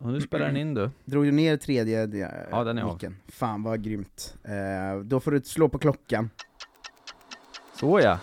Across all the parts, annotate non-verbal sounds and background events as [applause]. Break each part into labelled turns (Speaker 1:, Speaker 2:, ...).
Speaker 1: Och nu spelar den in du.
Speaker 2: Drog du ner tredje eh,
Speaker 1: Ja, den är av.
Speaker 2: micken? Fan vad grymt. Eh, då får du slå på klockan.
Speaker 1: Så ja.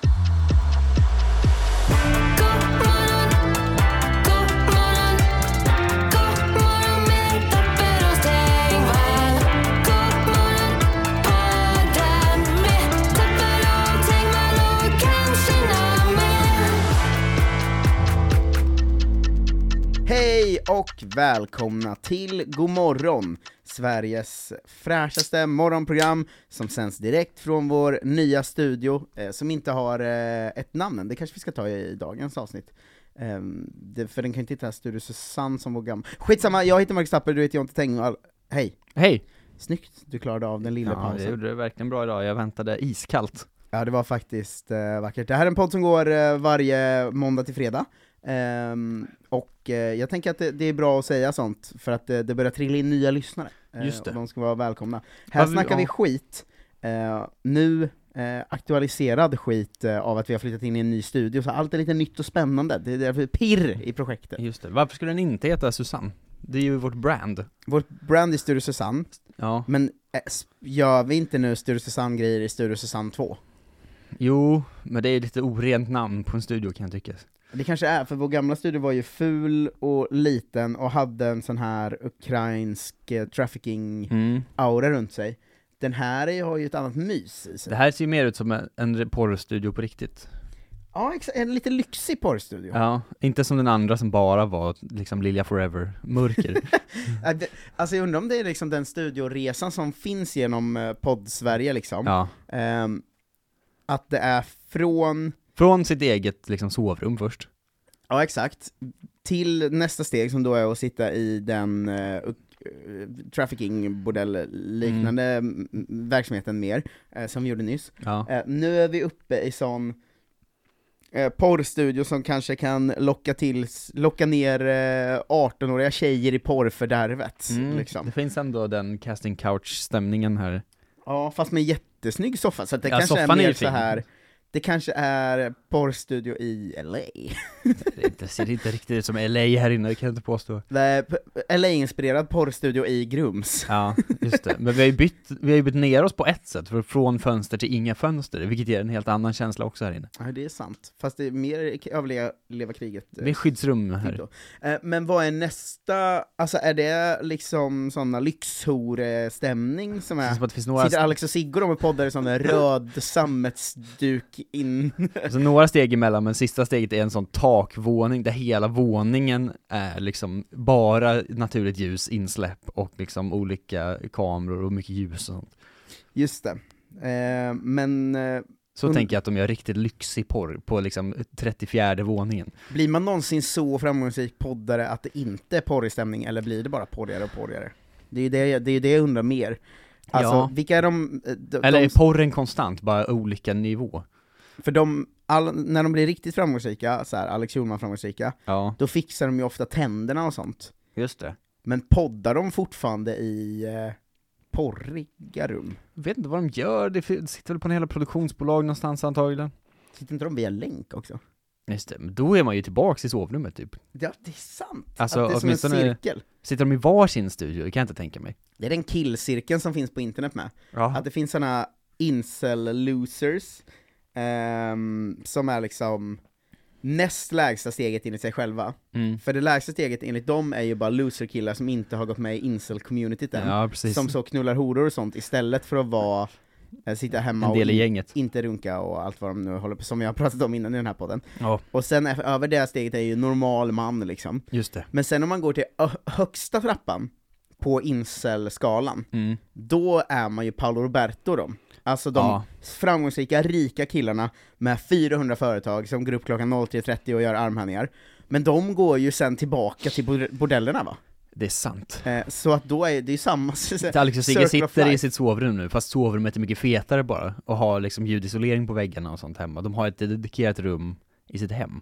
Speaker 2: Hej och välkomna till God morgon, Sveriges fräschaste morgonprogram som sänds direkt från vår nya studio, eh, som inte har eh, ett namn än. Det kanske vi ska ta i dagens avsnitt. Eh, det, för den kan ju inte heta Studio Susanne som vår gamla... Skitsamma, jag heter Marcus Tapper, du heter Jonte Tengvall. Hej!
Speaker 1: Hej!
Speaker 2: Snyggt, du klarade av den lilla
Speaker 1: Ja, jag
Speaker 2: pausen.
Speaker 1: gjorde det verkligen bra idag. Jag väntade iskallt.
Speaker 2: Ja, det var faktiskt eh, vackert. Det här är en podd som går eh, varje måndag till fredag. Ehm, och eh, jag tänker att det, det är bra att säga sånt, för att eh, det börjar trilla in nya lyssnare. Eh,
Speaker 1: Just det.
Speaker 2: Och de ska vara välkomna. Här
Speaker 1: vi-
Speaker 2: snackar vi
Speaker 1: ja.
Speaker 2: skit, eh, nu eh, aktualiserad skit eh, av att vi har flyttat in i en ny studio, så allt är lite nytt och spännande. Det är därför pirr i projektet.
Speaker 1: Just det. Varför skulle den inte heta Susanne? Det är ju vårt brand.
Speaker 2: Vårt brand är Studio Susanne,
Speaker 1: Ja.
Speaker 2: men eh, s- gör vi inte nu Studio Susanne-grejer i Studio Susanne 2?
Speaker 1: Jo, men det är lite orent namn på en studio kan jag tycka.
Speaker 2: Det kanske är, för vår gamla studio var ju ful och liten och hade en sån här ukrainsk eh, trafficking-aura
Speaker 1: Mm.
Speaker 2: runt sig. Den här är- har ju ett annat mys i sig.
Speaker 1: Det här ser ju mer ut som en- en porrstudio på riktigt.
Speaker 2: Ja, exa- en lite lyxig porrstudio.
Speaker 1: Ja, inte som den andra som bara var liksom Lilja Forever, mörker.
Speaker 2: Äh, det- Alltså jag undrar om det är liksom den studioresan som finns genom eh, podd-Sverige liksom.
Speaker 1: ja.
Speaker 2: Ehm, att det är från,
Speaker 1: Från sitt eget liksom sovrum först.
Speaker 2: ja exakt, till nästa steg som då är att sitta i den eh, uk- eh, trafficking-bordell-liknande mm. verksamheten mer, eh, som vi gjorde nyss.
Speaker 1: Ja.
Speaker 2: Eh, nu är vi uppe i sån eh, porrstudio som kanske kan locka, till, locka ner eh, 18-åriga tjejer i porrfördärvet.
Speaker 1: Mm.
Speaker 2: Liksom.
Speaker 1: Det finns ändå den casting couch-stämningen här.
Speaker 2: Ja, fast med en jättesnygg soffa, så att det
Speaker 1: Ja,
Speaker 2: kanske är
Speaker 1: soffan är
Speaker 2: mer
Speaker 1: ju
Speaker 2: så
Speaker 1: fin.
Speaker 2: här. Det kanske är porrstudio i [laughs] LA.
Speaker 1: Det är inte- ser inte riktigt ut som LA här inne, det kan jag inte påstå.
Speaker 2: Nej, Eh, p- LA-inspirerad porrstudio i Grums.
Speaker 1: Ja, just det. Men vi har ju bytt, vi har ju bytt ner oss på ett sätt, för från fönster till inga fönster, vilket ger en helt annan känsla också här inne.
Speaker 2: Ja, det är sant. Fast det är mer k- överleva leva kriget. eh,
Speaker 1: Det är skyddsrum
Speaker 2: tid
Speaker 1: här.
Speaker 2: då. Eh, Men vad är nästa, alltså är det liksom såna lyxhore-stämning som
Speaker 1: Det
Speaker 2: är?
Speaker 1: känns som att det finns några,
Speaker 2: Sitter Alex och Sigge och de och poddar i sån röd sammetsduk in. [laughs]
Speaker 1: alltså några steg emellan, men sista steget är en sån takvåning där hela våningen är liksom bara naturligt ljus, insläpp och liksom olika kameror och mycket ljus och sånt.
Speaker 2: Just det. Eh, men eh,
Speaker 1: Så
Speaker 2: Und-
Speaker 1: tänker jag att de gör riktigt lyxig porr på liksom 34 våningen.
Speaker 2: blir man någonsin så framgångsrik poddare att det inte är porrig stämning, eller blir det bara porrigare och porrigare? Det är ju det, det, är ju det jag undrar mer. Alltså,
Speaker 1: Ja.
Speaker 2: vilka är de... eh, de,
Speaker 1: Eller
Speaker 2: de
Speaker 1: är porren konstant, bara olika nivå?
Speaker 2: för de, all, när de blir riktigt framgångsrika, så här, Alex Schulman framgångsrika,
Speaker 1: Ja,
Speaker 2: då fixar de ju ofta tänderna och sånt.
Speaker 1: just det.
Speaker 2: Men poddar de fortfarande i eh, porriga rum?
Speaker 1: Jag vet inte vad de gör, det fi- sitter väl på en hela produktionsbolag någonstans antagligen.
Speaker 2: Sitter inte de via länk också?
Speaker 1: Just det, men då är man ju tillbaks i sovrummet typ.
Speaker 2: Ja, det är sant!
Speaker 1: Alltså,
Speaker 2: att det är som en
Speaker 1: åtminstone-
Speaker 2: cirkel.
Speaker 1: Sitter de i varsin studio, det kan jag inte tänka mig.
Speaker 2: Det är den killcirkeln som finns på internet med.
Speaker 1: Ja.
Speaker 2: Att det finns såna incel-losers, ehm, som är liksom näst lägsta steget in i sig själva.
Speaker 1: Mm.
Speaker 2: För det lägsta steget enligt dem är ju bara loser-killar som inte har gått med i incel-communityt än.
Speaker 1: Ja, precis.
Speaker 2: som så knullar horor och sånt istället för att vara, eh, sitta hemma
Speaker 1: en
Speaker 2: och
Speaker 1: del i
Speaker 2: in,
Speaker 1: gänget.
Speaker 2: inte runka och allt vad de nu håller på som jag har pratat om innan i den här podden.
Speaker 1: Ja,
Speaker 2: Och sen e- över det här steget är ju normal man liksom.
Speaker 1: just det.
Speaker 2: Men sen om man går till ö- högsta trappan på incel-skalan,
Speaker 1: Mm.
Speaker 2: då är man ju Paolo Roberto då. Alltså de
Speaker 1: Ja.
Speaker 2: framgångsrika, rika killarna med 400 företag som går upp klockan 03.30 och gör armhävningar. Men de går ju sen tillbaka till bord- bordellerna va?
Speaker 1: Det är sant.
Speaker 2: Eh, så att då är det ju samma... [laughs]
Speaker 1: Alex och
Speaker 2: Circle
Speaker 1: Sigge
Speaker 2: of
Speaker 1: sitter i
Speaker 2: life.
Speaker 1: sitt sovrum nu, fast sovrummet är mycket fetare bara, och har liksom ljudisolering på väggarna och sånt hemma. De har ett dedikerat rum i sitt hem.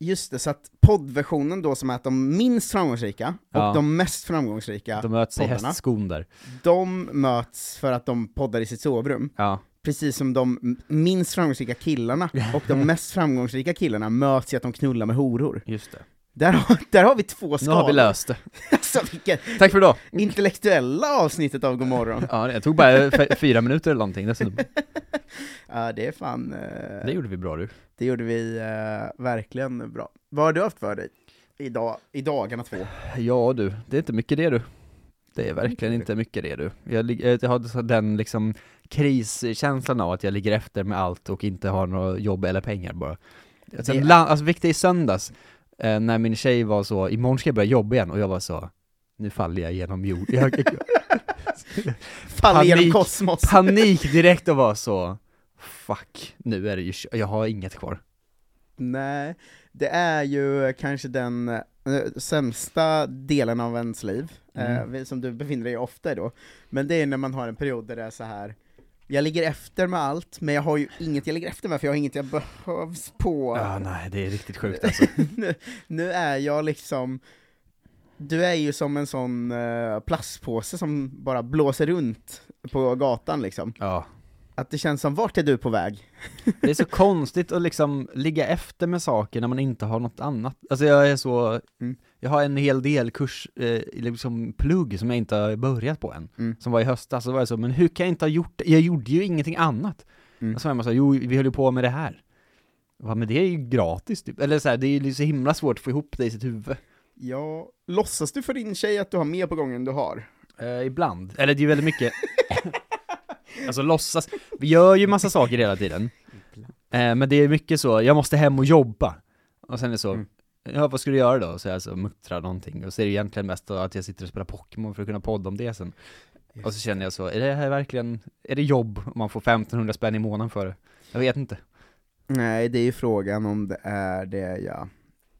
Speaker 2: Just det, så att poddversionen då som är att de minst framgångsrika,
Speaker 1: Ja.
Speaker 2: och de mest framgångsrika,
Speaker 1: De möts i
Speaker 2: poddarna.
Speaker 1: hästskon där.
Speaker 2: de möts för att de poddar i sitt sovrum.
Speaker 1: Ja.
Speaker 2: precis som de m- minst framgångsrika killarna och de mest framgångsrika killarna möts i att de knullar med horor.
Speaker 1: Just det.
Speaker 2: Där har, där har vi två
Speaker 1: Nu
Speaker 2: skalor.
Speaker 1: har vi löst det.
Speaker 2: [laughs] Alltså vilket
Speaker 1: Tack för idag!
Speaker 2: intellektuella avsnittet av Godmorgon.
Speaker 1: Ja, det tog bara f- fyra minuter eller någonting dessutom.
Speaker 2: [laughs] Ja, det är fan, eh,
Speaker 1: Det gjorde vi bra du.
Speaker 2: det gjorde vi eh, verkligen bra. Vad har du haft för dig? Idag, I dagarna två?
Speaker 1: Ja du, det är inte mycket det du. Det är verkligen inte mycket det du. Jag, lig- eh, jag har så- den liksom kriskänslan av att jag ligger efter med allt och inte har några jobb eller pengar bara. Sen,
Speaker 2: Det-
Speaker 1: land, alltså vilket i söndags, eh, när min tjej var så, imorgon ska jag börja jobba igen och jag var så, nu faller jag genom jord. Jag,
Speaker 2: Faller genom
Speaker 1: Panik.
Speaker 2: kosmos.
Speaker 1: panik direkt och var så, fuck, nu är det ju, kö- jag har inget kvar.
Speaker 2: Nej, det är ju kanske den eh, sämsta delen av ens liv, eh,
Speaker 1: Mm.
Speaker 2: vi- som du befinner dig i ofta i då. Men det är när man har en period där det är så här. jag ligger efter med allt, men jag har ju inget jag ligger efter med, för jag har inget jag behövs på.
Speaker 1: Ja, nej, det är riktigt sjukt alltså.
Speaker 2: [laughs] nu, nu är jag liksom, du är ju som en sån eh, plastpåse som bara blåser runt på gatan liksom.
Speaker 1: Ja.
Speaker 2: Att det känns som, vart är du på väg?
Speaker 1: Det är så konstigt att liksom ligga efter med saker när man inte har något annat. Alltså jag är så,
Speaker 2: Mm.
Speaker 1: jag har en hel del kurs, eh, liksom plugg som jag inte har börjat på än,
Speaker 2: Mm.
Speaker 1: som var i höstas, så var jag så, men hur kan jag inte ha gjort det? Jag gjorde ju ingenting annat.
Speaker 2: Mm.
Speaker 1: Och så var man så, jo vi höll ju på med det här. Va, men det är ju gratis typ, eller så här, det är ju så himla svårt att få ihop det i sitt huvud.
Speaker 2: Ja, låtsas du för din tjej att du har mer på gång än du har?
Speaker 1: Eh, ibland, eller det är ju väldigt mycket [laughs] Alltså låtsas, vi gör ju massa saker hela tiden eh, Men det är mycket så, jag måste hem och jobba Och sen är det så,
Speaker 2: Mm.
Speaker 1: ja vad ska du göra då? Så jag så muttrar någonting Och så är det egentligen mest att jag sitter och spelar Pokémon för att kunna podda om det sen Och så känner jag så, är det här verkligen, är det jobb om man får 1500 spänn i månaden för det? Jag vet inte
Speaker 2: Nej, det är ju frågan om det är det, ja.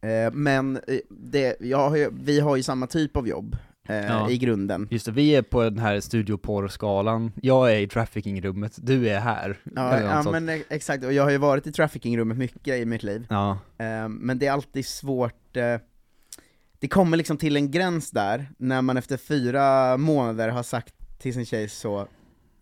Speaker 2: Eh, men eh, det, jag har ju, vi har ju samma typ av jobb eh,
Speaker 1: Ja.
Speaker 2: i grunden.
Speaker 1: Just det, vi är på den här studioporrskalan Jag är i trafficking-rummet, du är här
Speaker 2: Ja,
Speaker 1: Eller något
Speaker 2: ja
Speaker 1: sånt.
Speaker 2: men eh, exakt, och jag har ju varit i traffickingrummet mycket i mitt liv.
Speaker 1: ja.
Speaker 2: Eh, men det är alltid svårt, eh, det kommer liksom till en gräns där, när man efter fyra månader har sagt till sin tjej så,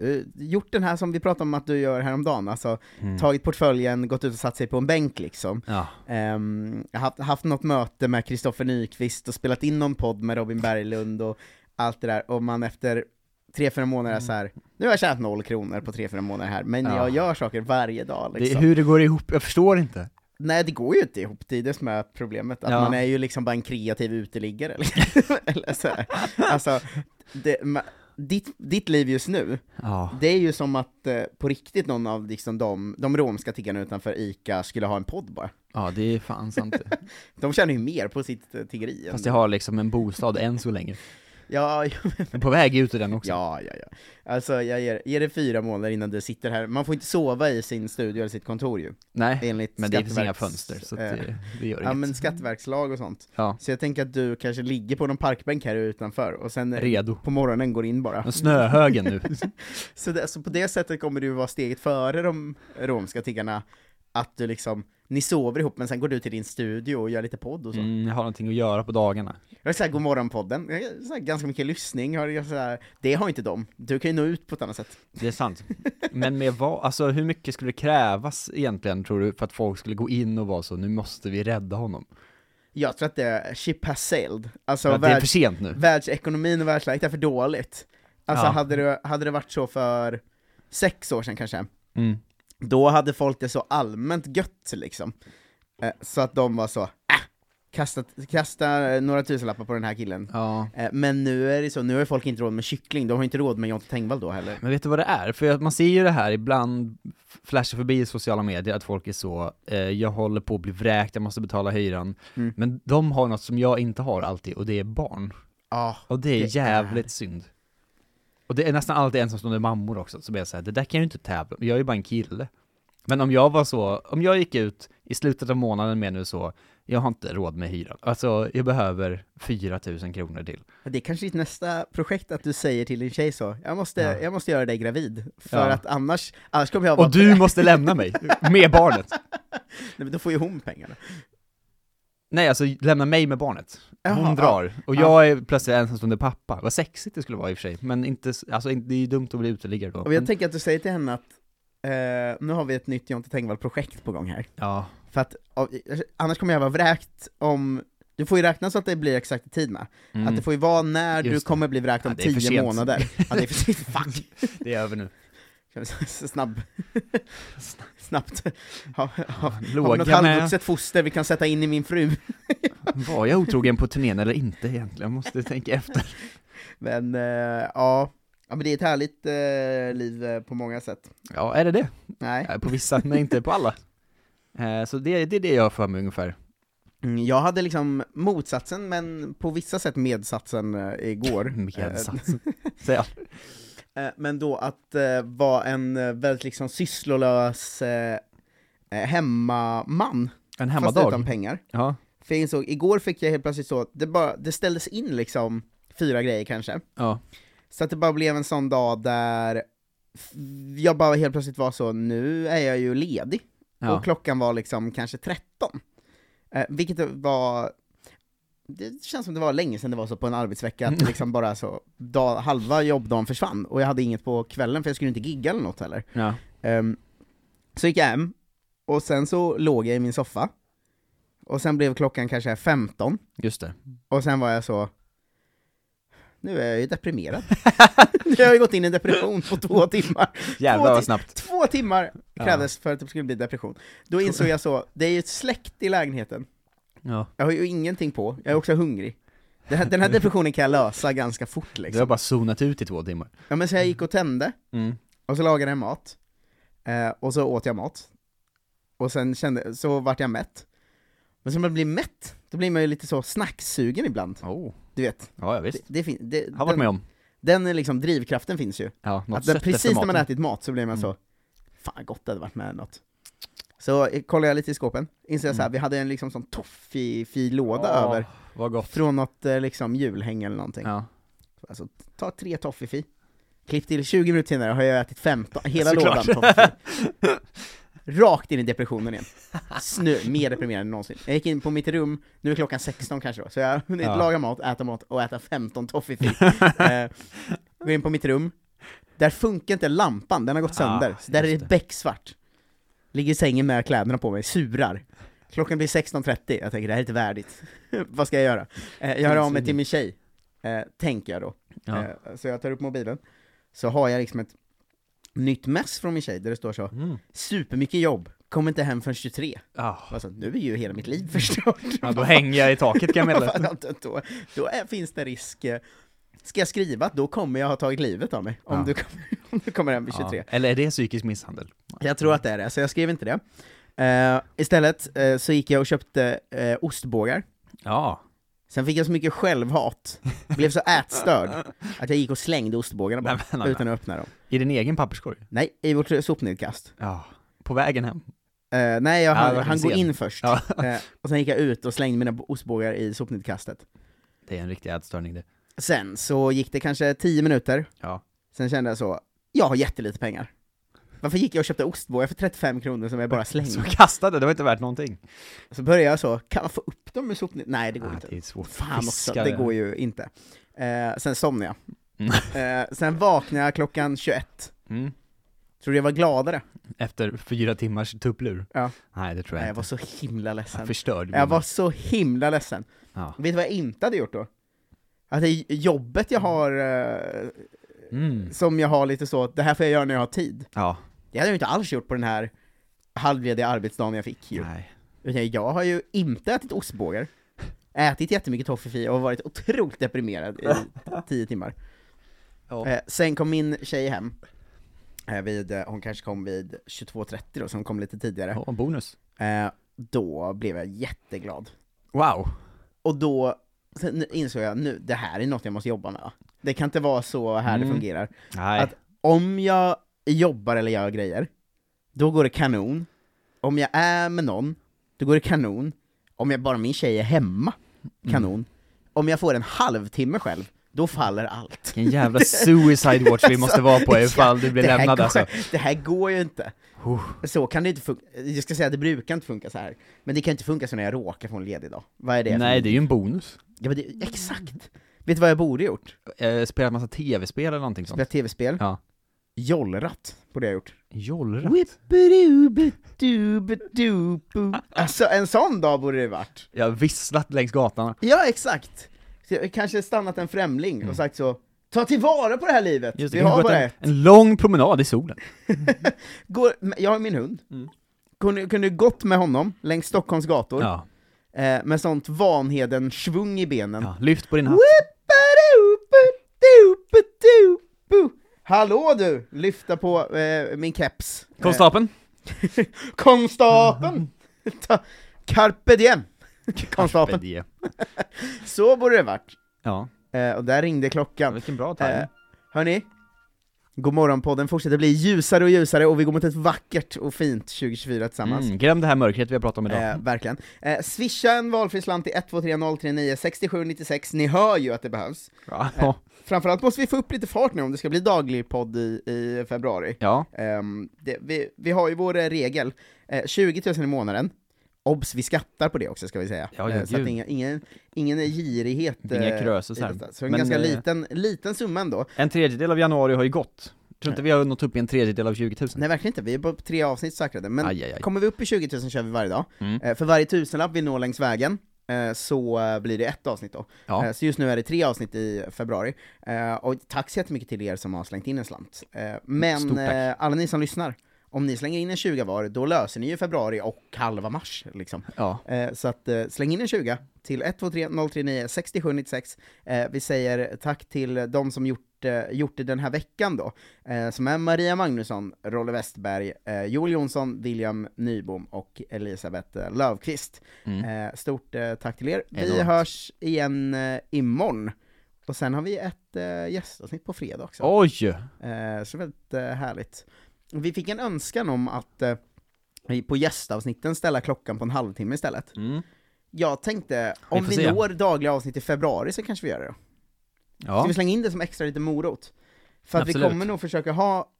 Speaker 2: eh, gjort den här som vi pratade om att du gör häromdagen, alltså
Speaker 1: Mm.
Speaker 2: tagit portföljen, gått ut och satt sig på en bänk liksom.
Speaker 1: ja.
Speaker 2: Ehm, jag har haft, haft något möte med Kristoffer Nyqvist och spelat in någon podd med Robin Berglund och allt det där, och man efter tre fyra månader är så här. nu har jag tjänat noll kronor på tre fyra månader här, men
Speaker 1: Mm. Ja.
Speaker 2: jag gör saker varje dag
Speaker 1: Det,
Speaker 2: liksom.
Speaker 1: hur det går ihop, jag förstår inte
Speaker 2: Nej det går ju inte ihop, det är det som är problemet, att
Speaker 1: Ja.
Speaker 2: man är ju liksom bara en kreativ uteliggare. liksom. Eller [laughs] så här. Alltså, det, ma, ditt, ditt liv just nu,
Speaker 1: Ja
Speaker 2: det är ju som att eh, på riktigt någon av liksom, de, de romska tiggarna utanför ICA skulle ha en podd bara.
Speaker 1: Ja, det är fan
Speaker 2: [laughs]
Speaker 1: sant det.
Speaker 2: De tjänar ju mer på sitt eh, tiggeri än
Speaker 1: Fast jag har liksom en bostad än så länge.
Speaker 2: Ja,
Speaker 1: Jag är på väg ut ur den också.
Speaker 2: ja, ja, ja. Alltså jag ger, ger det fyra månader innan du sitter här. Man får inte sova i sin studio eller sitt kontor ju,
Speaker 1: Nej,
Speaker 2: enligt
Speaker 1: men det finns inga
Speaker 2: Skatteverks-
Speaker 1: fönster så att
Speaker 2: eh,
Speaker 1: det, det gör
Speaker 2: Ja
Speaker 1: inget.
Speaker 2: men skatteverkslag och sånt.
Speaker 1: Ja,
Speaker 2: Så jag tänker att du kanske ligger på någon parkbänk här utanför, och sen eh,
Speaker 1: redo.
Speaker 2: på morgonen går in bara.
Speaker 1: Men snöhögen nu.
Speaker 2: [laughs] Så, det, så på det sättet kommer du vara steget före de romska tiggarna, att du liksom, ni sover ihop men sen går du till din studio och gör lite podd och så.
Speaker 1: Mm, jag har någonting att göra på dagarna.
Speaker 2: Jag har såhär, godmorgon-podden, Jag har så här ganska mycket lyssning, har jag så här, det har inte de. Du kan ju nå ut på ett annat sätt.
Speaker 1: Det är sant. Men med vad, alltså hur mycket skulle det krävas egentligen tror du för att folk skulle gå in och vara så, nu måste vi rädda honom?
Speaker 2: Jag tror att det är ship has sailed. Alltså
Speaker 1: För att det är för
Speaker 2: världs,
Speaker 1: sent nu.
Speaker 2: världsekonomin och världsläget är för dåligt. Alltså
Speaker 1: Ja.
Speaker 2: hade, det, hade det varit så för sex år sedan kanske,
Speaker 1: Mm.
Speaker 2: då hade folk det så allmänt gött liksom. Eh, så att de var så, äh, kasta, kasta eh, några tusenlappar på den här killen.
Speaker 1: Ja.
Speaker 2: Eh, men nu är det så, nu har folk inte råd med kyckling, de har inte råd med Jonte Tengvall då heller.
Speaker 1: Men vet du vad det är? För att man ser ju det här ibland, flashar förbi i sociala medier, att folk är så, eh, jag håller på att bli vräkt, jag måste betala hyran.
Speaker 2: Mm.
Speaker 1: Men de har något som jag inte har alltid, och det är barn.
Speaker 2: Ah,
Speaker 1: Och det är
Speaker 2: Det
Speaker 1: jävligt synd. Och det är nästan alltid ensamstående mammor också, som är såhär, det där kan jag ju inte tävla jag är ju bara en kille. Men om jag var så, om jag gick ut i slutet av månaden med nu så, jag har inte råd med hyran. Alltså, jag behöver 4000 kronor till.
Speaker 2: det är kanske ditt nästa projekt, att du säger till din tjej så, jag måste,
Speaker 1: Ja.
Speaker 2: jag måste göra dig gravid, för
Speaker 1: Ja.
Speaker 2: att annars, annars kommer jag vara
Speaker 1: Och du måste lämna mig, med [laughs] barnet.
Speaker 2: Nej, men då får ju hon pengarna.
Speaker 1: Nej, alltså lämna mig med barnet. Hon
Speaker 2: Jaha,
Speaker 1: drar, och
Speaker 2: ja.
Speaker 1: jag är plötsligt ensamstående pappa. Vad sexigt det skulle vara i och för sig, men inte, s- alltså inte- det är ju dumt att bli uteliggare då.
Speaker 2: Och jag
Speaker 1: Men-
Speaker 2: tänker att du säger till henne att eh, nu har vi ett nytt Jonte Tengvall-projekt på gång här.
Speaker 1: ja,
Speaker 2: För att av, annars kommer jag vara vräkt om Du får ju räkna så att det blir exakt i tid med. Att det får ju vara när
Speaker 1: Mm. Just
Speaker 2: du
Speaker 1: det.
Speaker 2: kommer bli vräkt om
Speaker 1: Ja, det är för
Speaker 2: 10
Speaker 1: sent.
Speaker 2: månader.
Speaker 1: [laughs]
Speaker 2: Ja, det är för sent. Fuck!
Speaker 1: Det är över nu.
Speaker 2: Kan vi- Snabb. Snabbt. Har ha, har vi något
Speaker 1: Låga med,
Speaker 2: halvvuxet foster vi kan sätta in i min fru?
Speaker 1: var jag otrogen på turnén eller inte egentligen? Jag måste tänka efter.
Speaker 2: Men eh, ja. ja, men det är ett härligt eh, liv eh, på många sätt.
Speaker 1: Ja, är det det?
Speaker 2: Nej.
Speaker 1: Eh, På vissa, men inte på alla. Eh, Så det, det är det jag har för mig ungefär.
Speaker 2: Mm, Jag hade liksom motsatsen, men på vissa sätt medsatsen eh,
Speaker 1: [laughs]
Speaker 2: igår. Eh,
Speaker 1: Medsatsen. Säg allt.
Speaker 2: eh, men då att eh, vara en eh, väldigt liksom sysslolös eh, eh, hemmaman,
Speaker 1: En
Speaker 2: fast
Speaker 1: hemmadag.
Speaker 2: utan pengar.
Speaker 1: Ja.
Speaker 2: För jag insåg, igår fick jag helt plötsligt så, det, bara, det ställdes in liksom fyra grejer kanske.
Speaker 1: ja.
Speaker 2: Så att det bara blev en sån dag där f- jag bara helt plötsligt var så, nu är jag ju ledig.
Speaker 1: ja.
Speaker 2: och klockan var liksom kanske 13. Eh, vilket var, det känns som det var länge sedan det var så på en arbetsvecka, att det liksom bara så, dag, halva jobbdagen försvann, och jag hade inget på kvällen för jag skulle inte gigga eller något heller.
Speaker 1: ja.
Speaker 2: Ehm, så gick jag hem, och sen så låg jag i min soffa, och sen blev klockan kanske 15,
Speaker 1: Just det.
Speaker 2: och sen var jag så, nu är jag ju deprimerad. nu har jag ju gått in i en depression på två timmar.
Speaker 1: Jävlar vad snabbt.
Speaker 2: Två timmar krävdes för att det skulle bli depression. Då insåg jag så, det är ju ett släkt i lägenheten.
Speaker 1: Ja.
Speaker 2: Jag har ju ingenting på, jag är också hungrig. Den här,
Speaker 1: [laughs]
Speaker 2: den här depressionen kan jag lösa ganska fort
Speaker 1: Du har
Speaker 2: liksom.
Speaker 1: bara zonat ut i två timmar.
Speaker 2: Ja, men så jag gick och tände,
Speaker 1: Mm.
Speaker 2: och så lagade jag mat, eh, och så åt jag mat. Och sen kände, så vart jag mätt. Men sen när man blir mätt, då blir man ju lite så snacksugen ibland.
Speaker 1: Oh.
Speaker 2: Du vet,
Speaker 1: Ja, ja,
Speaker 2: det,
Speaker 1: visst.
Speaker 2: det, fin- det,
Speaker 1: Har varit
Speaker 2: den,
Speaker 1: med om.
Speaker 2: den är liksom, drivkraften finns ju.
Speaker 1: Ja, något
Speaker 2: Att den,
Speaker 1: sött efter
Speaker 2: precis när man
Speaker 1: maten. Mm.
Speaker 2: ätit mat så blir man så, fan gott det hade varit med något. Så eh, kollade jag lite i skåpen, insåg jag så här, vi hade en liksom sån toffig fin låda
Speaker 1: Mm. Åh,
Speaker 2: över,
Speaker 1: Vad gott.
Speaker 2: från något eh, liksom julhäng eller någonting. [laughs]
Speaker 1: Ja.
Speaker 2: Alltså, ta tre toffifee. Klipp till 20 minuter senare har jag ätit 15, hela lådan
Speaker 1: Såklart.
Speaker 2: toffifee. [laughs] Rakt in i depressionen igen. Snö, mer deprimerad än någonsin. Jag gick in på mitt rum, nu är klockan 16 kanske då, så jag har hunnit
Speaker 1: Ja.
Speaker 2: laga mat, äta mat och äta 15 toffifee. eh, går in på mitt rum, där funkar inte lampan, den har gått
Speaker 1: Ah,
Speaker 2: sönder. Så där är
Speaker 1: just
Speaker 2: det
Speaker 1: det.
Speaker 2: becksvart. Ligger i sängen med kläderna på mig, surar. Klockan blir 16.30, jag tänker det här är inte värdigt. [laughs] Vad ska jag göra? Eh, jag hör av mig till min tjej, eh, tänker jag då.
Speaker 1: Ja.
Speaker 2: Eh, Så jag tar upp mobilen, så har jag liksom ett nytt mess från min tjej där det står så
Speaker 1: Mm.
Speaker 2: Supermycket jobb, kommer inte hem förrän 23.
Speaker 1: Ah.
Speaker 2: Alltså, nu är ju hela mitt liv [laughs] förstört.
Speaker 1: Ja, då hänger jag i taket kan jag
Speaker 2: [laughs]
Speaker 1: meddela.
Speaker 2: Fan, då, då, då är, finns det risk, eh, ska jag skriva att då kommer jag ha tagit livet av mig om,
Speaker 1: Ja.
Speaker 2: du, kommer, [laughs] om du kommer hem vid 23.
Speaker 1: Ja. Eller är det psykisk misshandel?
Speaker 2: Jag tror att det är det, så jag skrev inte det. Eh, istället eh, så gick jag och köpte eh, ostbågar,
Speaker 1: Ja.
Speaker 2: sen fick jag så mycket självhat, blev så ätstörd,
Speaker 1: [laughs]
Speaker 2: att jag gick och slängde ostbågarna bara,
Speaker 1: Nej, men, nej,
Speaker 2: utan att öppna dem.
Speaker 1: I din egen papperskorg?
Speaker 2: Nej, i vårt sopnedkast.
Speaker 1: Ja. På vägen hem?
Speaker 2: Eh, nej, jag,
Speaker 1: Ja, det
Speaker 2: han,
Speaker 1: var
Speaker 2: han går
Speaker 1: sen.
Speaker 2: in först.
Speaker 1: Ja.
Speaker 2: Eh, och sen gick jag ut och slängde mina ostbågar i sopnedkastet.
Speaker 1: Det är en riktig ätstörning det.
Speaker 2: Sen så gick det kanske 10 minuter,
Speaker 1: Ja.
Speaker 2: sen kände jag så, jag har jättelite pengar. Varför gick jag och köpte ostbågar för 35 kronor som jag
Speaker 1: [laughs]
Speaker 2: bara
Speaker 1: Så
Speaker 2: slängde?
Speaker 1: kastade, det var inte värt någonting.
Speaker 2: Så började jag så, kan man få upp dem ur sopnedkastet? Nej, det går
Speaker 1: Ah,
Speaker 2: inte.
Speaker 1: det är svårt.
Speaker 2: Fan också,
Speaker 1: Fiskar.
Speaker 2: det går ju inte. Eh, sen somnade
Speaker 1: [laughs] Mm.
Speaker 2: jag. Eh, sen vaknade jag klockan 21.
Speaker 1: Mm.
Speaker 2: Tror du jag var gladare?
Speaker 1: Efter fyra timmars tupplur?
Speaker 2: Ja.
Speaker 1: Nej, det tror jag
Speaker 2: Nej, jag
Speaker 1: inte.
Speaker 2: var så himla
Speaker 1: Jag
Speaker 2: ledsen.
Speaker 1: förstörde
Speaker 2: Jag var så himla ledsen.
Speaker 1: ja.
Speaker 2: Vet du vad jag inte hade gjort då? Att det är jobbet jag har, eh,
Speaker 1: Mm.
Speaker 2: som jag har lite så, det här får jag göra när jag har tid.
Speaker 1: ja.
Speaker 2: Det hade jag ju inte alls gjort på den här halvlediga arbetsdagen jag fick ju.
Speaker 1: Nej.
Speaker 2: Utan jag har ju inte ätit ostbågar, ätit jättemycket toffifee och varit
Speaker 1: [laughs]
Speaker 2: otroligt deprimerad i tio timmar.
Speaker 1: Ja.
Speaker 2: Eh, sen kom min tjej hem, eh, vid, eh, hon kanske kom vid 22.30 då, så hon kom lite tidigare.
Speaker 1: Ja, en bonus.
Speaker 2: Eh, då blev jag jätteglad.
Speaker 1: Wow.
Speaker 2: Och då sen insåg jag nu, det här är något jag måste jobba med. va? Det kan inte vara så här det
Speaker 1: Mm.
Speaker 2: fungerar.
Speaker 1: Nej.
Speaker 2: Att- Om jag jobbar eller gör grejer, då går det kanon. Om jag är med någon, då går det kanon. Om jag bara min tjej är hemma,
Speaker 1: Mm.
Speaker 2: kanon. Om jag får en halvtimme själv, då faller allt.
Speaker 1: Vilken jävla suicide watch vi måste vara
Speaker 2: [laughs]
Speaker 1: på ifall du blir
Speaker 2: Det här
Speaker 1: lämnad
Speaker 2: går,
Speaker 1: alltså.
Speaker 2: [laughs] Det här går ju inte.
Speaker 1: Oh.
Speaker 2: Så kan det inte funka. Jag ska säga att det brukar inte funka så här. Men det kan inte funka så när jag råkar få en ledig dag. Vad är det? för
Speaker 1: Nej, det är ju en bonus.
Speaker 2: Ja, men det, exakt! Vet du vad jag borde gjort?
Speaker 1: Eh, spelat massa tv-spel eller någonting sånt.
Speaker 2: Spela tv-spel,
Speaker 1: Ja.
Speaker 2: jollratt borde jag ha gjort.
Speaker 1: Jollra?
Speaker 2: Whippadoobadoobadoobo. Alltså en sån dag borde det varit.
Speaker 1: Jag har visslat längs gatan.
Speaker 2: Ja, exakt! Så jag kanske stannat en främling och sagt så, ta tillvara på Mm. det här livet!
Speaker 1: Just
Speaker 2: Vi
Speaker 1: kanske
Speaker 2: har
Speaker 1: gått
Speaker 2: bara
Speaker 1: en,
Speaker 2: det.
Speaker 1: en lång promenad i solen.
Speaker 2: Går, jag har min hund. Kunde, kunde gått med honom längs Stockholms gator,
Speaker 1: Ja.
Speaker 2: eh, med sånt Vanheden-svung i benen.
Speaker 1: ja. Lyft på din hatt.
Speaker 2: Whippadoobadoobadoobo. Hallå du! Lyfta på eh, min keps. Eh,
Speaker 1: Konstapeln?
Speaker 2: Konstapeln! Ta- Mm. Carpe diem! Konstapeln.
Speaker 1: Bedje.
Speaker 2: Så borde det varit.
Speaker 1: Ja,
Speaker 2: Eh, och där ringde klockan.
Speaker 1: vilken bra
Speaker 2: Eh,
Speaker 1: tajming.
Speaker 2: hörni, Godmorgonpodden fortsätter bli ljusare och ljusare och vi går mot ett vackert och fint 2024 tillsammans.
Speaker 1: Mm, glöm det här mörkret vi har pratat om idag.
Speaker 2: Eh, verkligen. Eh, swisha en valfri slant till 123039 6796, ni hör ju att det behövs. eh.
Speaker 1: Ja.
Speaker 2: Framförallt måste vi få upp lite fart nu om det ska bli daglig podd i, i februari.
Speaker 1: [laughs] ja.
Speaker 2: Ehm, det, vi, vi har ju vår eh, regel, eh, 20 000 i månaden. Obs, vi skattar på det också ska vi säga.
Speaker 1: Ja, ja,
Speaker 2: Eh, så att
Speaker 1: gud.
Speaker 2: inga, ingen, ingen girighet.
Speaker 1: Inga
Speaker 2: eh,
Speaker 1: krösus här.
Speaker 2: i detta. Så en
Speaker 1: Men,
Speaker 2: ganska
Speaker 1: eh,
Speaker 2: liten, liten summa ändå.
Speaker 1: En tredjedel av januari har ju gått. Tror inte vi har nått upp i en tredjedel av 20 000.
Speaker 2: Eh. Nej verkligen inte, vi är på tre avsnitt säkrade, men
Speaker 1: Aj, aj, aj.
Speaker 2: kommer vi upp i 20 000 kör vi varje dag.
Speaker 1: Mm.
Speaker 2: Eh, för varje tusenlapp vi når längs vägen eh, så eh, blir det ett avsnitt då.
Speaker 1: Ja.
Speaker 2: Eh, så just nu är det tre avsnitt i februari. Eh, och tack så jättemycket till er som har slängt in en slant. Eh, men
Speaker 1: Stort tack.
Speaker 2: eh, alla ni som lyssnar, om ni slänger in en 20 var, då löser ni ju februari och halva mars liksom.
Speaker 1: Ja.
Speaker 2: Eh, så att eh, släng in en 20 till 123 039 6796. Eh, vi säger tack till de som gjort, eh, gjort det den här veckan då, eh, som är Maria Magnusson, Rolle Westberg, eh, Joel Jonsson, William Nybom och Elisabeth eh, Löfqvist. Eh, stort eh, tack till er. Vi
Speaker 1: Enormt.
Speaker 2: hörs igen eh, imorgon. Och sen har vi ett eh, gästavsnitt på fredag också.
Speaker 1: Oj!
Speaker 2: Eh, så väldigt eh, härligt. Vi fick en önskan om att eh, vi på gästavsnitten ställa klockan på en halvtimme istället.
Speaker 1: Mm.
Speaker 2: Jag tänkte,
Speaker 1: Vi
Speaker 2: om
Speaker 1: får
Speaker 2: vi
Speaker 1: se.
Speaker 2: når dagliga avsnitt i februari så kanske vi gör det då. Ska
Speaker 1: Ja.
Speaker 2: vi slänga in det som extra lite morot? För att vi
Speaker 1: Absolut.
Speaker 2: kommer nog försöka ha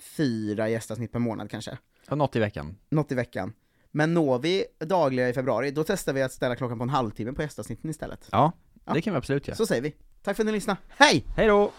Speaker 2: fyra gästavsnitt per månad kanske,
Speaker 1: ja, något i veckan.
Speaker 2: något i veckan. Men når vi dagliga i februari, då testar vi att ställa klockan på en halvtimme på gästavsnitten istället.
Speaker 1: Ja,
Speaker 2: Ja.
Speaker 1: det kan vi absolut göra.
Speaker 2: Så säger vi. Tack för att ni lyssnade, hej!
Speaker 1: Hej då!